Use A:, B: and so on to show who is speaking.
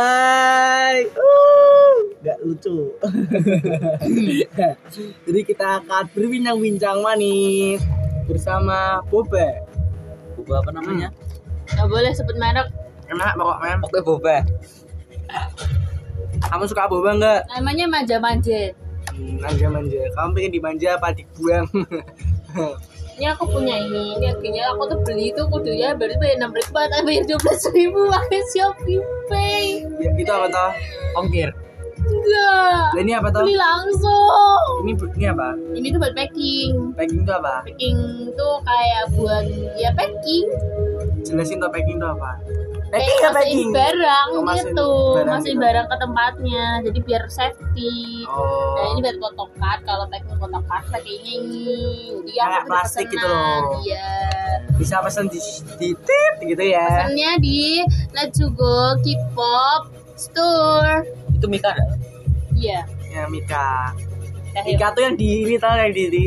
A: Hai, uh, nggak lucu. Jadi kita akan berbincang-bincang manis bersama Boba.
B: boba apa namanya
C: Gak boleh sebut merek.
A: Hmm. Enak pokoknya.
B: oke boba
A: Kamu suka Boba nggak?
C: Namanya Manja Manje.
A: Hmm, manja manja. Kamu pengen dimanja apa dibuang?
C: Ini aku punya ini. Ini akhirnya aku tuh beli itu kudunya baru bayar enam ribu, tapi bayar dua belas ribu pakai Shopee Pay.
A: ya, itu apa toh?
B: ongkir
C: Enggak.
A: Nah, ini apa toh?
C: Beli langsung.
A: Ini ini apa?
C: Ini tuh buat packing.
A: Packing itu apa?
C: Packing tuh kayak buat ya packing.
A: Jelasin toh packing itu apa?
C: Kayak masukin barang
A: Oh, masukin
C: gitu,
A: barang
C: masukin
A: gitu.
C: barang ke tempatnya. Jadi biar safety.
A: Oh.
C: Nah ini buat kotak card. kalau packing kotak card pakainya ini. Dia
A: Kayak plastik gitu loh.
C: Iya.
A: Bisa pesan di, di tip gitu ya.
C: Pesannya di Let's Go K-pop Store.
B: itu Mika ada
C: Iya.
A: Ya Mika.
C: Teh Ya,
A: Mika tuh yang di ini tau yang di, di